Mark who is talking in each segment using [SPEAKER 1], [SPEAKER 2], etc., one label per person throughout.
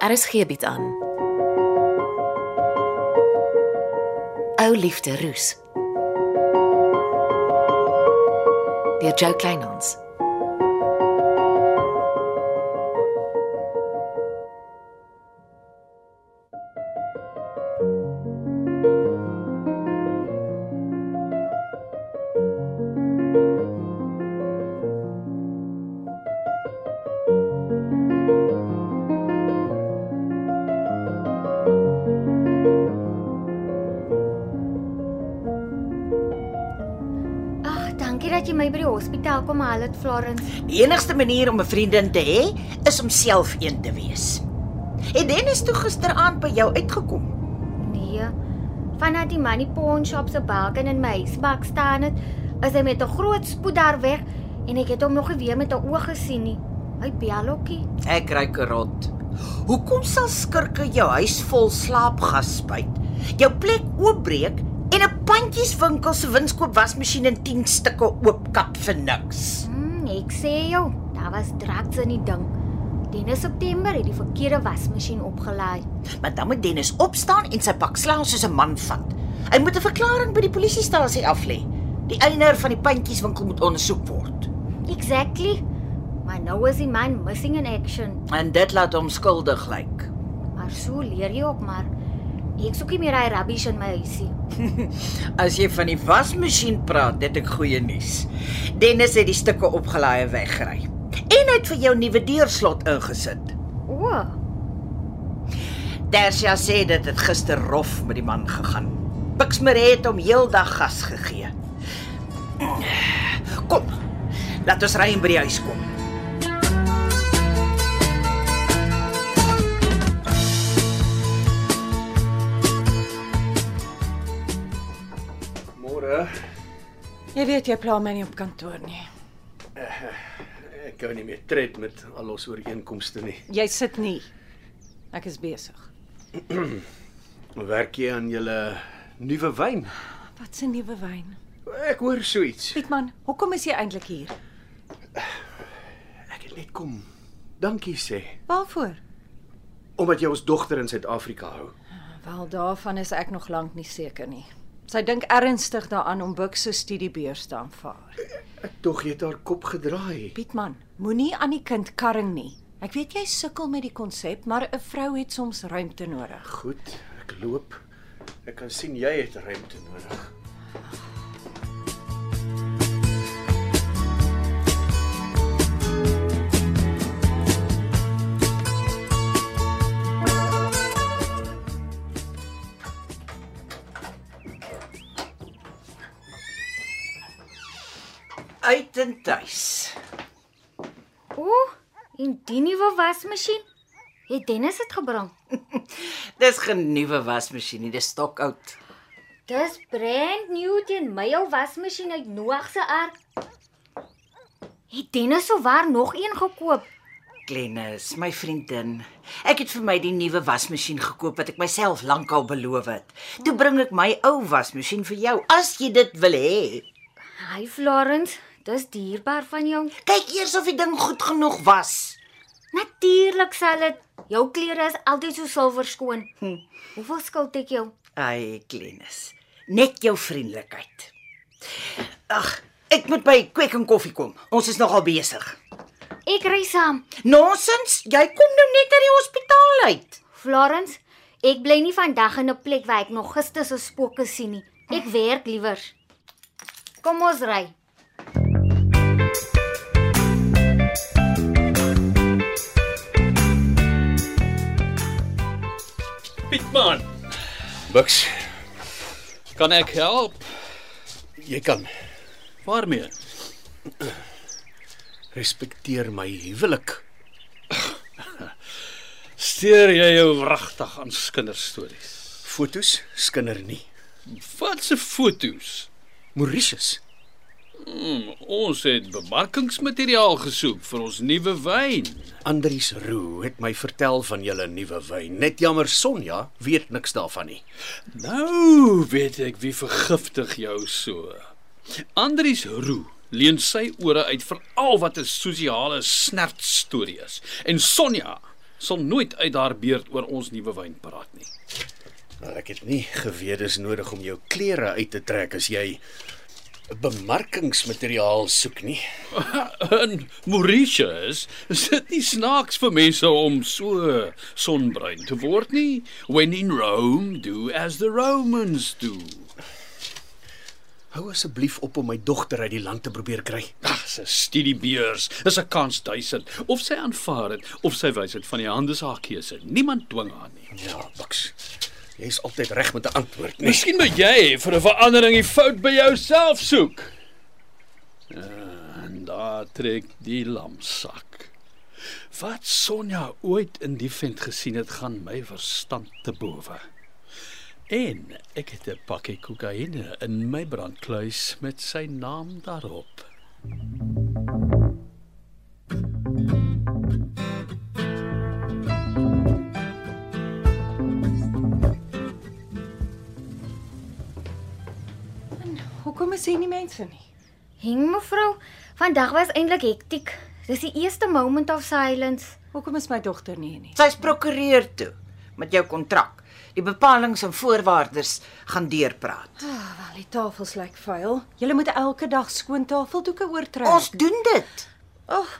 [SPEAKER 1] RSG bied Er aan. Ou liefde roes. Deur Jo Kleinhans.
[SPEAKER 2] Ag, dankie dat jy my by die hospitaal kom haal het, Florence.
[SPEAKER 3] Die enigste manier om 'n vriendin te hê is om self een te wees. En Dennis toe gisteraand by jou uitgekom.
[SPEAKER 2] Nee. Vanaf die manie pawn shop se balken in my huisbak staan het, is hy met 'n groot spoed daar weg en ek het hom nog nie weer met 'n oog gesien nie. Hy bellokkie.
[SPEAKER 3] Ek kry kerot. Hoekom sal skurke jou huis vol slaapgas spuit? Jou plek oopbreek en 'n pandjieswinkel se winskoop wasmasjien in 10 stukke oopkap vir niks.
[SPEAKER 2] Hmm, ek sê jou, daar was drugs in die ding. Dennis September het die verkeerde wasmasjien opgelaai.
[SPEAKER 3] Maar dan moet Dennis opstaan en sy pak slaag soos 'n man vat. Hy moet 'n verklaring by die polisiestasie af lê. Die eienaar van die pandjieswinkel moet ondersoek word.
[SPEAKER 2] Exactly. Maar nou is die man missing in action.
[SPEAKER 3] En dit laat hom skuldig lyk.
[SPEAKER 2] Maar so leer jy ook maar. Ek soek nie meer hy rubbish in my huisie.
[SPEAKER 3] As jy van die wasmasjien praat, het ek goeie nuus. Dennis het die stukke opgelaai en weggery. En hy het vir jou nuwe deurslot ingesit.
[SPEAKER 2] O, oh,
[SPEAKER 3] Tersia sê dit het gister rof met die man gegaan. Pixmer het hom heeldag gas gegee. Kom. Laat ons ry en by die huis kom.
[SPEAKER 4] Môre.
[SPEAKER 5] Jy weet jy pla my nie op kantoor nie.
[SPEAKER 4] Eh, Ek gou nie meer tred met al ons ooreenkomste nie.
[SPEAKER 5] Jy sit nie. Ek is besig.
[SPEAKER 4] Werk jy aan julle nuwe wyn?
[SPEAKER 5] Wat 'n nuwe wyn.
[SPEAKER 4] Ek hoor so iets.
[SPEAKER 5] Pietman, hoekom is jy eintlik hier?
[SPEAKER 4] Ek het net kom. Dankie sê
[SPEAKER 5] Waarvoor?
[SPEAKER 4] omdat jy ons dogter in Suid-Afrika hou.
[SPEAKER 5] Wel, daarvan is ek nog lank nie seker nie. Sy dink ernstig daaraan om Buck se studiebeurs te aanvaar.
[SPEAKER 4] Ek tog jy het haar kop gedraai.
[SPEAKER 5] Pietman, moenie aan die kind karring nie. Ek weet jy sukkel met die konsep, maar 'n vrou het soms ruimte nodig.
[SPEAKER 4] Goed, ek loop. Ek kan sien jy het ruimte nodig.
[SPEAKER 3] Uit en tuis.
[SPEAKER 2] Ooh, en die nuwe wasmasjien? Het Dennis dit gebring?
[SPEAKER 3] Dis genuwe wasmasjien, nie, dis stokoud.
[SPEAKER 2] Dis brand new teen my ou wasmasjien uit Noag se ark. Het Dennis sowaar nog een gekoop?
[SPEAKER 3] Glenis, my vriendin, ek het vir my die nuwe wasmasjien gekoop wat ek myself lankal beloof het. Toe bring ek my ou wasmasjien vir jou as jy dit wil hê.
[SPEAKER 2] Hi Florence, dis dierbaar van jou.
[SPEAKER 3] Kyk eers of die ding goed genoeg was.
[SPEAKER 2] Natuurlik sal dit. Jou klere is altyd so silwer skoon. Hm. Hoeveel skuld ek jou?
[SPEAKER 3] Ai, Glenis, net jou vriendelikheid. Ag, ek moet by Kwek en Koffie kom. Ons is nogal besig.
[SPEAKER 2] Ek ry saam.
[SPEAKER 3] Nonsens, jy kom nou net uit die hospitaal uit.
[SPEAKER 2] Florence, ek bly nie vandag in 'n plek waar ek nog gister se spooke sien nie. Ek werk liewer. Kom ons ry.
[SPEAKER 6] Pietman,
[SPEAKER 4] Buks,
[SPEAKER 6] kan ek help?
[SPEAKER 4] jy kan
[SPEAKER 6] Waarmee?
[SPEAKER 4] respekteer my huwelik.
[SPEAKER 6] Steur jy jou wragtig aan kinderstories?
[SPEAKER 4] Fotos skinder nie.
[SPEAKER 6] Wat se fotos?
[SPEAKER 4] Mauritius.
[SPEAKER 6] Ons het bemarkingsmateriaal gesoek vir ons nuwe wyn.
[SPEAKER 4] Andries Roo het my vertel van julle nuwe wyn. Net jammer Sonja weet niks daarvan nie.
[SPEAKER 6] Nou weet ek wie vergiftig jou so. Andries Roo leen sy ore uit vir al wat 'n sosiale snert storie is. En Sonja sal nooit uit haar beurt oor ons nuwe wyn praat nie.
[SPEAKER 4] Maar Nou, ek het nie geweet dis nodig om jou klere uit te trek as jy bemarkingsmateriaal soek nie.
[SPEAKER 6] In Mauritius is dit nie snaaks vir mense om so sonbruin te word nie. When in Rome, do as the Romans do.
[SPEAKER 4] Hou asseblief op om my dogter uit die land te probeer kry.
[SPEAKER 6] Ag, dis 'n studiebeurs. Dis 'n kans duisend. Of sy aanvaar dit of sy wys dit van die hand is haar keuse. Niemand dwing haar nie.
[SPEAKER 4] Ja, Bucks. Jy's altyd reg met 'n antwoord, nie?
[SPEAKER 6] Miskien moet jy vir 'n verandering die fout by jouself soek. Eh, En daar trek die lamsak. Wat Sonja ooit in die vent gesien het, gaan my verstand te bowe. En ek het 'n pakkie kokaine in my brandkluis met sy naam daarop.
[SPEAKER 5] Hoekom is hier nie mense nie?
[SPEAKER 2] Hing mevrou, vandag was eintlik hektiek. Dis die eerste moment of silence.
[SPEAKER 5] Hoekom is my dogter nie hier nie?
[SPEAKER 3] Sy's prokureur toe met jou kontrak. Die bepalinge en voorwaardes gaan deurpraat.
[SPEAKER 5] Ah, Wel, die tafels lyk vuil. Jy moet elke dag skoon tafeldoeke oortrek.
[SPEAKER 3] Ons doen dit.
[SPEAKER 5] Ag,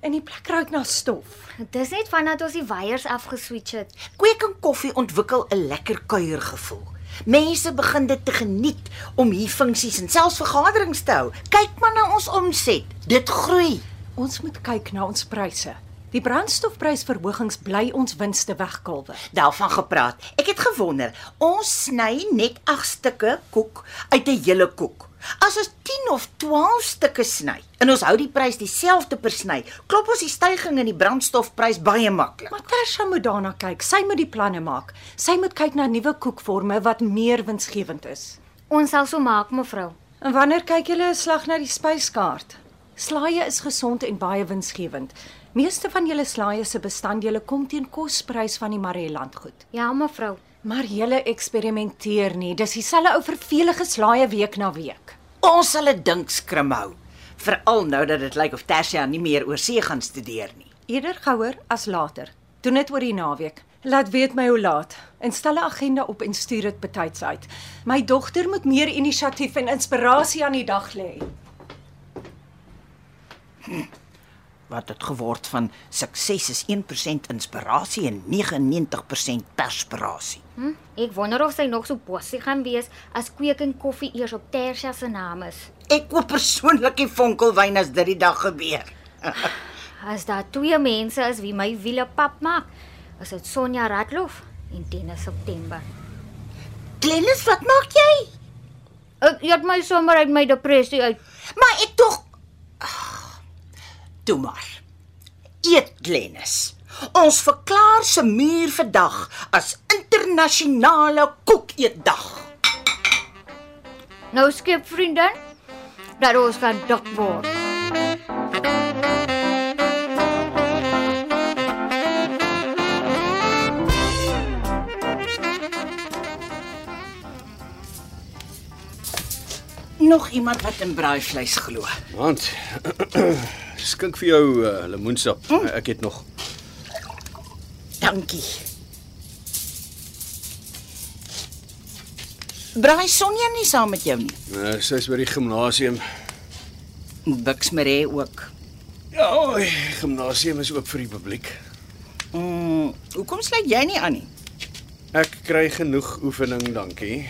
[SPEAKER 5] en die plek ruik na stof.
[SPEAKER 2] Dis net vandat ons die waiers afgeswitch het.
[SPEAKER 3] Kweek en koffie ontwikkel 'n lekker kuiergevoel. Mense begin dit te geniet om hier funksies en selfs vergaderings te hou. Kyk maar na ons omset. Dit groei.
[SPEAKER 5] Ons moet kyk na ons pryse. Die brandstofprysverhogings bly ons winste wegkalwe.
[SPEAKER 3] Daarvan gepraat. Ek het gewonder, ons sny net 8 stukke koek uit 'n hele koek. As ons 10 of 12 stukke sny en ons hou die prys dieselfde per sny, klop ons die stygings in die brandstofprys baie maklik.
[SPEAKER 5] Matasha moet daarna kyk. Sy moet die planne maak. Sy moet kyk na nuwe koekvorme wat meer winsgewend is.
[SPEAKER 2] Ons sal so maak mevrou.
[SPEAKER 5] En wanneer kyk julle 'n slag na die spyskaart? Slaaië is gesond en baie winsgewend. Meeste van julle slaaië se bestanddele kom teen kosprys van die Mareland goed.
[SPEAKER 2] Ja mevrou.
[SPEAKER 5] Maar julle eksperimenteer nie. Dis dieselfde ou vervelige slaaië week na week.
[SPEAKER 3] Ons sal 'n dinkskrim hou, veral nou dat dit lyk of Tersia nie meer oor see gaan studeer nie.
[SPEAKER 5] Eerder gouer as later. Doen dit oor die naweek. Laat weet my hoe laat. Instel 'n agenda op en stuur dit betyds uit. My dogter moet meer inisiatief en inspirasie aan die dag lê.
[SPEAKER 3] Wat het geword van sukses is 1% inspirasie en 99% perspirasie.
[SPEAKER 2] Hm? Ek wonder of sy nog so bossy gaan wees as kweek en koffie eers op Tersia se naam is.
[SPEAKER 3] Ek koop persoonlik die vonkelwyn as dit die dag gebeur.
[SPEAKER 2] As daar twee mense is wie my wiele pap maak, is dit Sonja Radloff en Dennis September.
[SPEAKER 3] Glennis, wat maak jy?
[SPEAKER 2] Ek eet my sommer uit my depressie uit.
[SPEAKER 3] Maar ek tog Ag, Toe maar. Eet Glennis. Ons verklaar se muur vandag as internasionale koekeetdag.
[SPEAKER 2] Nou skep vriendin dat ons kan dik word.
[SPEAKER 3] Nog iemand wat in braaivleis glo.
[SPEAKER 4] Want skink vir jou uh, lemoensap. Ek het nog
[SPEAKER 3] Dankie. Braai Sonja nie saam met jou nie.
[SPEAKER 4] uh, sy's by die gimnasium.
[SPEAKER 3] Bux Maree ook.
[SPEAKER 4] Ja, oh, gimnasium is oop vir die publiek.
[SPEAKER 3] Mm, hoekom sluit jy nie aan nie?
[SPEAKER 4] Ek kry genoeg oefening, dankie.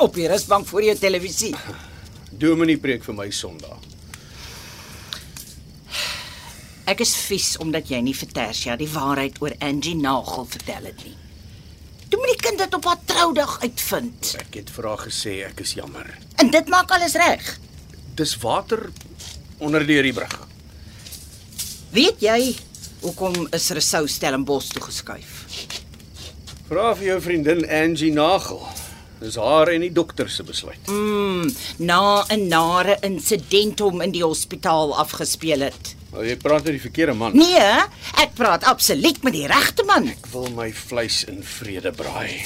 [SPEAKER 3] Op die rusbank voor jou televisie.
[SPEAKER 4] Dominee preek vir my Sondag.
[SPEAKER 3] Ek is vies omdat jy nie vir Tersia die waarheid oor Angie Nagel vertel het nie. Toe moet die kind dit op haar troudag uitvind.
[SPEAKER 4] Ek het vir haar gesê ek is jammer.
[SPEAKER 3] En dit maak alles reg.
[SPEAKER 4] Dis water onder deur die brug.
[SPEAKER 3] Weet jy hoekom is Resou Stellenbosch toe geskuif?
[SPEAKER 4] Vra vir jou vriendin Angie Nagel. Dis haar en die dokter se besluit.
[SPEAKER 3] Mm, na 'n nare insident hom in die hospitaal afgespeel het.
[SPEAKER 4] Nou jy praat met die verkeerde man.
[SPEAKER 3] Nee, ek praat absoluut met die regte man.
[SPEAKER 4] Ek wil my vleis in vrede braai.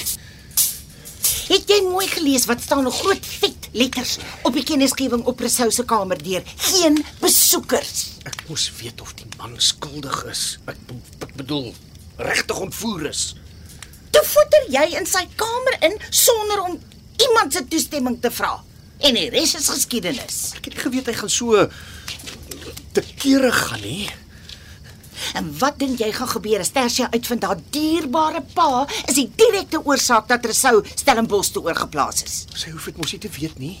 [SPEAKER 3] Het jy mooi gelees wat staan op groot vet letters op die kennisgewing op Resou se kamerdeur? Geen besoekers.
[SPEAKER 4] Ek moes weet of die man skuldig is. Ek, be- ek bedoel, regtig ontvoer is.
[SPEAKER 3] Toe voeter jy in sy kamer in sonder om iemand se toestemming te vra. En die res is geskiedenis.
[SPEAKER 4] Ek het nie geweet hy gaan so te kere gaan nie.
[SPEAKER 3] En wat dink jy gaan gebeur as Tersia uitvind haar dierbare pa is die direkte oorsaak dat Resou Stellenbosch toe oorgeplaas is?
[SPEAKER 4] Sy hoef dit mos nie te weet nie.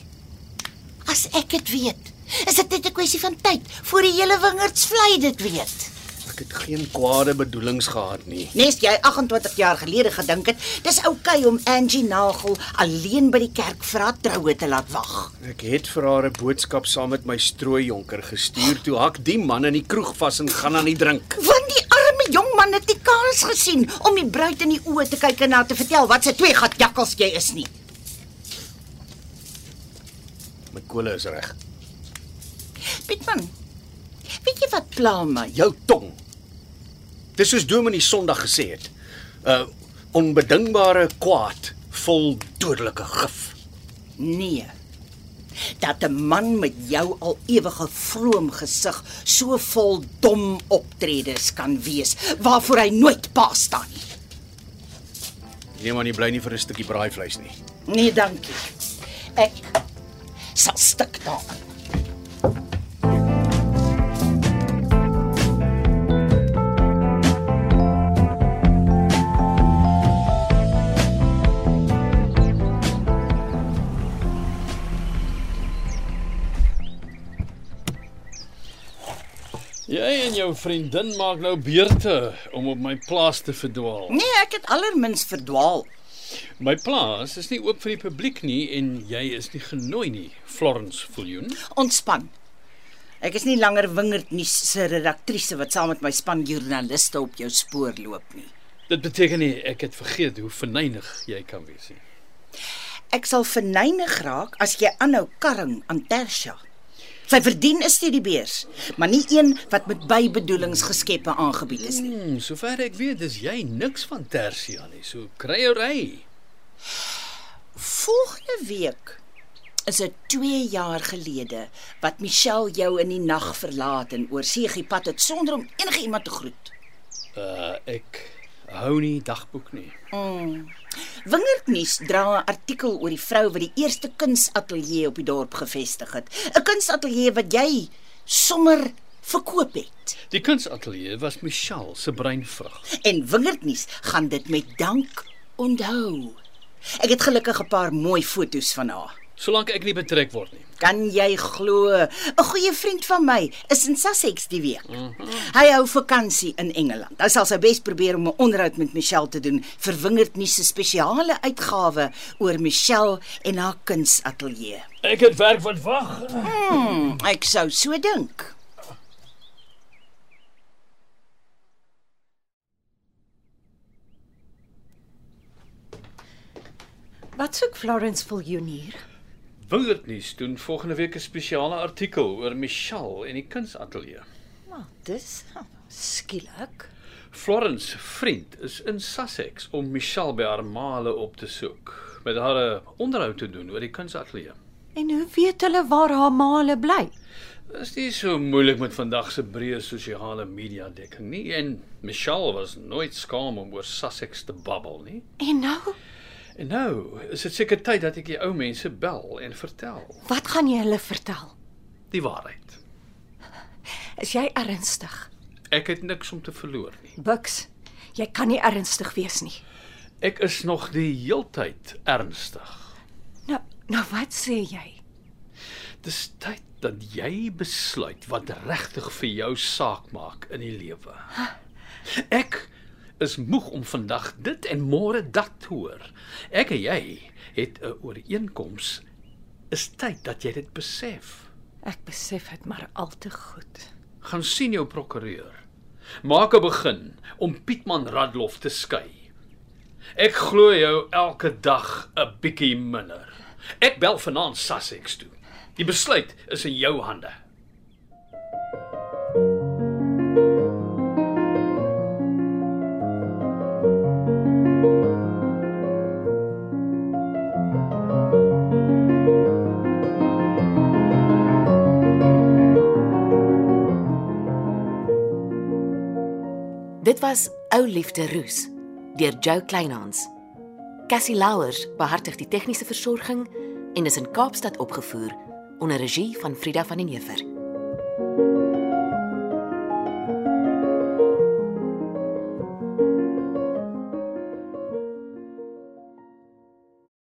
[SPEAKER 3] As ek dit weet, is dit net 'n kwessie van tyd voor die hele wingerdsvlei dit weet.
[SPEAKER 4] Ek het geen kwade bedoelings gehad nie.
[SPEAKER 3] Nes jy 28 jaar gelede gedink het, dis oukei okay om Angie Nagel alleen by die kerk vir haar troue te laat wag.
[SPEAKER 4] Ek het vir haar 'n boodskap saam met my strooijonker gestuur toe hak die man in die kroeg vas en gaan aan die drink.
[SPEAKER 3] Want die arme jong man het nie kans gesien om die bruid in die oë te kyk en haar te vertel wat se twee gat jakkals jy is nie.
[SPEAKER 4] My kole is reg.
[SPEAKER 3] Pietman. Weet jy wat pla my?
[SPEAKER 4] Jou tong. Dis soos Dominee Sondag gesê het. 'n uh, Onbedingbare kwaad vol dodelike gif.
[SPEAKER 3] Nee. Dat 'n man met jou al ewige vroom gesig so vol dom optredes kan wees waarvoor hy nooit pa staan nie.
[SPEAKER 4] Nee man, jy bly nie vir 'n stukkie braaivleis nie.
[SPEAKER 3] Nee, dankie. Ek sal stik daaraan.
[SPEAKER 6] Jy en jou vriendin maak nou beurte om op my plaas te verdwaal.
[SPEAKER 3] Nee, ek het allermins verdwaal.
[SPEAKER 6] My plaas is nie oop vir die publiek nie en jy is nie genooi nie, Florence Viljoen.
[SPEAKER 3] Ontspan. Ek is nie langer wingerd nuus se redaktrise wat saam met my span joernaliste op jou spoor loop nie.
[SPEAKER 6] Dit beteken nie ek het vergeet hoe verneig jy kan wees nie.
[SPEAKER 3] Ek sal verneig raak as jy aanhou karring aan Tersha. Sy verdien 'n studiebeurs, maar nie een wat met bybedoelings geskeppe aangebied is nie.
[SPEAKER 6] Hmm, sover ek weet, dis jy niks van Tersia nie. So kry jou ry.
[SPEAKER 3] Volgende week is dit 2 jaar gelede wat Michelle jou in die nag verlaat en oor see gepad het sonder om enigiemand te groet.
[SPEAKER 6] Uh ek hou nie dagboek nie.
[SPEAKER 3] Wingerdnuus dra 'n artikel oor die vrou wat die eerste kunsatelier op die dorp gevestig het. 'n Kunsatelier wat jy sommer verkoop het.
[SPEAKER 6] Die kunsatelier was Michelle se breinvrug.
[SPEAKER 3] En Wingerdnuus gaan dit met dank onthou. Ek het gelukkig 'n paar mooi foto's van haar.
[SPEAKER 6] Solank ek nie betrek word nie.
[SPEAKER 3] Kan jy glo? 'n Goeie vriend van my is in Sussex die week. Hy hou vakansie in Engeland. Hy sal sy bes probeer om 'n onderhoud met Michelle te doen vir Wingerd Nuus se spesiale uitgawe oor Michelle en haar kunsatelier.
[SPEAKER 6] Ek het werk wat wag.
[SPEAKER 3] Ek sou so dink.
[SPEAKER 5] Wat soek Florence Viljoen hier?
[SPEAKER 6] Wingerd nuus doen volgende week 'n spesiale artikel oor Michelle en die kunsatelier.
[SPEAKER 5] Maar dis hm, skielik.
[SPEAKER 6] Florence se vriend is in Sussex om Michelle by haar maale op te soek met haar 'n onderhoud te doen oor die kunsatelier.
[SPEAKER 5] En hoe weet hulle waar haar maale bly?
[SPEAKER 6] Dis nie so moeilik met vandag se breë sosiale media dekking nie en Michelle was nooit skaam om oor Sussex te babbel nie.
[SPEAKER 5] En nou,
[SPEAKER 6] En nou is dit seker tyd dat ek die ou mense bel en vertel
[SPEAKER 5] wat gaan jy hulle vertel?
[SPEAKER 6] die waarheid.
[SPEAKER 5] Is jy ernstig?
[SPEAKER 6] Ek het niks om te verloor nie.
[SPEAKER 5] Bux, jy kan nie ernstig wees nie.
[SPEAKER 6] Ek is nog die heeltyd ernstig.
[SPEAKER 5] Nou, nou wat sê jy?
[SPEAKER 6] Dis tyd dat jy besluit wat regtig vir jou saak maak in die lewe. Ek is moeg om vandag dit en môre dat te hoor. Ek en jy het 'n ooreenkoms. Is tyd dat jy dit besef.
[SPEAKER 5] Ek besef dit maar al te goed.
[SPEAKER 6] Gaan sien jou prokureur. Maak 'n begin om Pietman Radloff te skei. Ek glo jou elke dag 'n bietjie minder. Ek bel vanaand Sussex toe. Die besluit is in jou hande.
[SPEAKER 1] Dit was Ou liefde roes deur Jo Kleinhans. Cassie Louwers behartig die tegniese versorging en is in Kaapstad opgevoer onder regie van Frida van den Heever.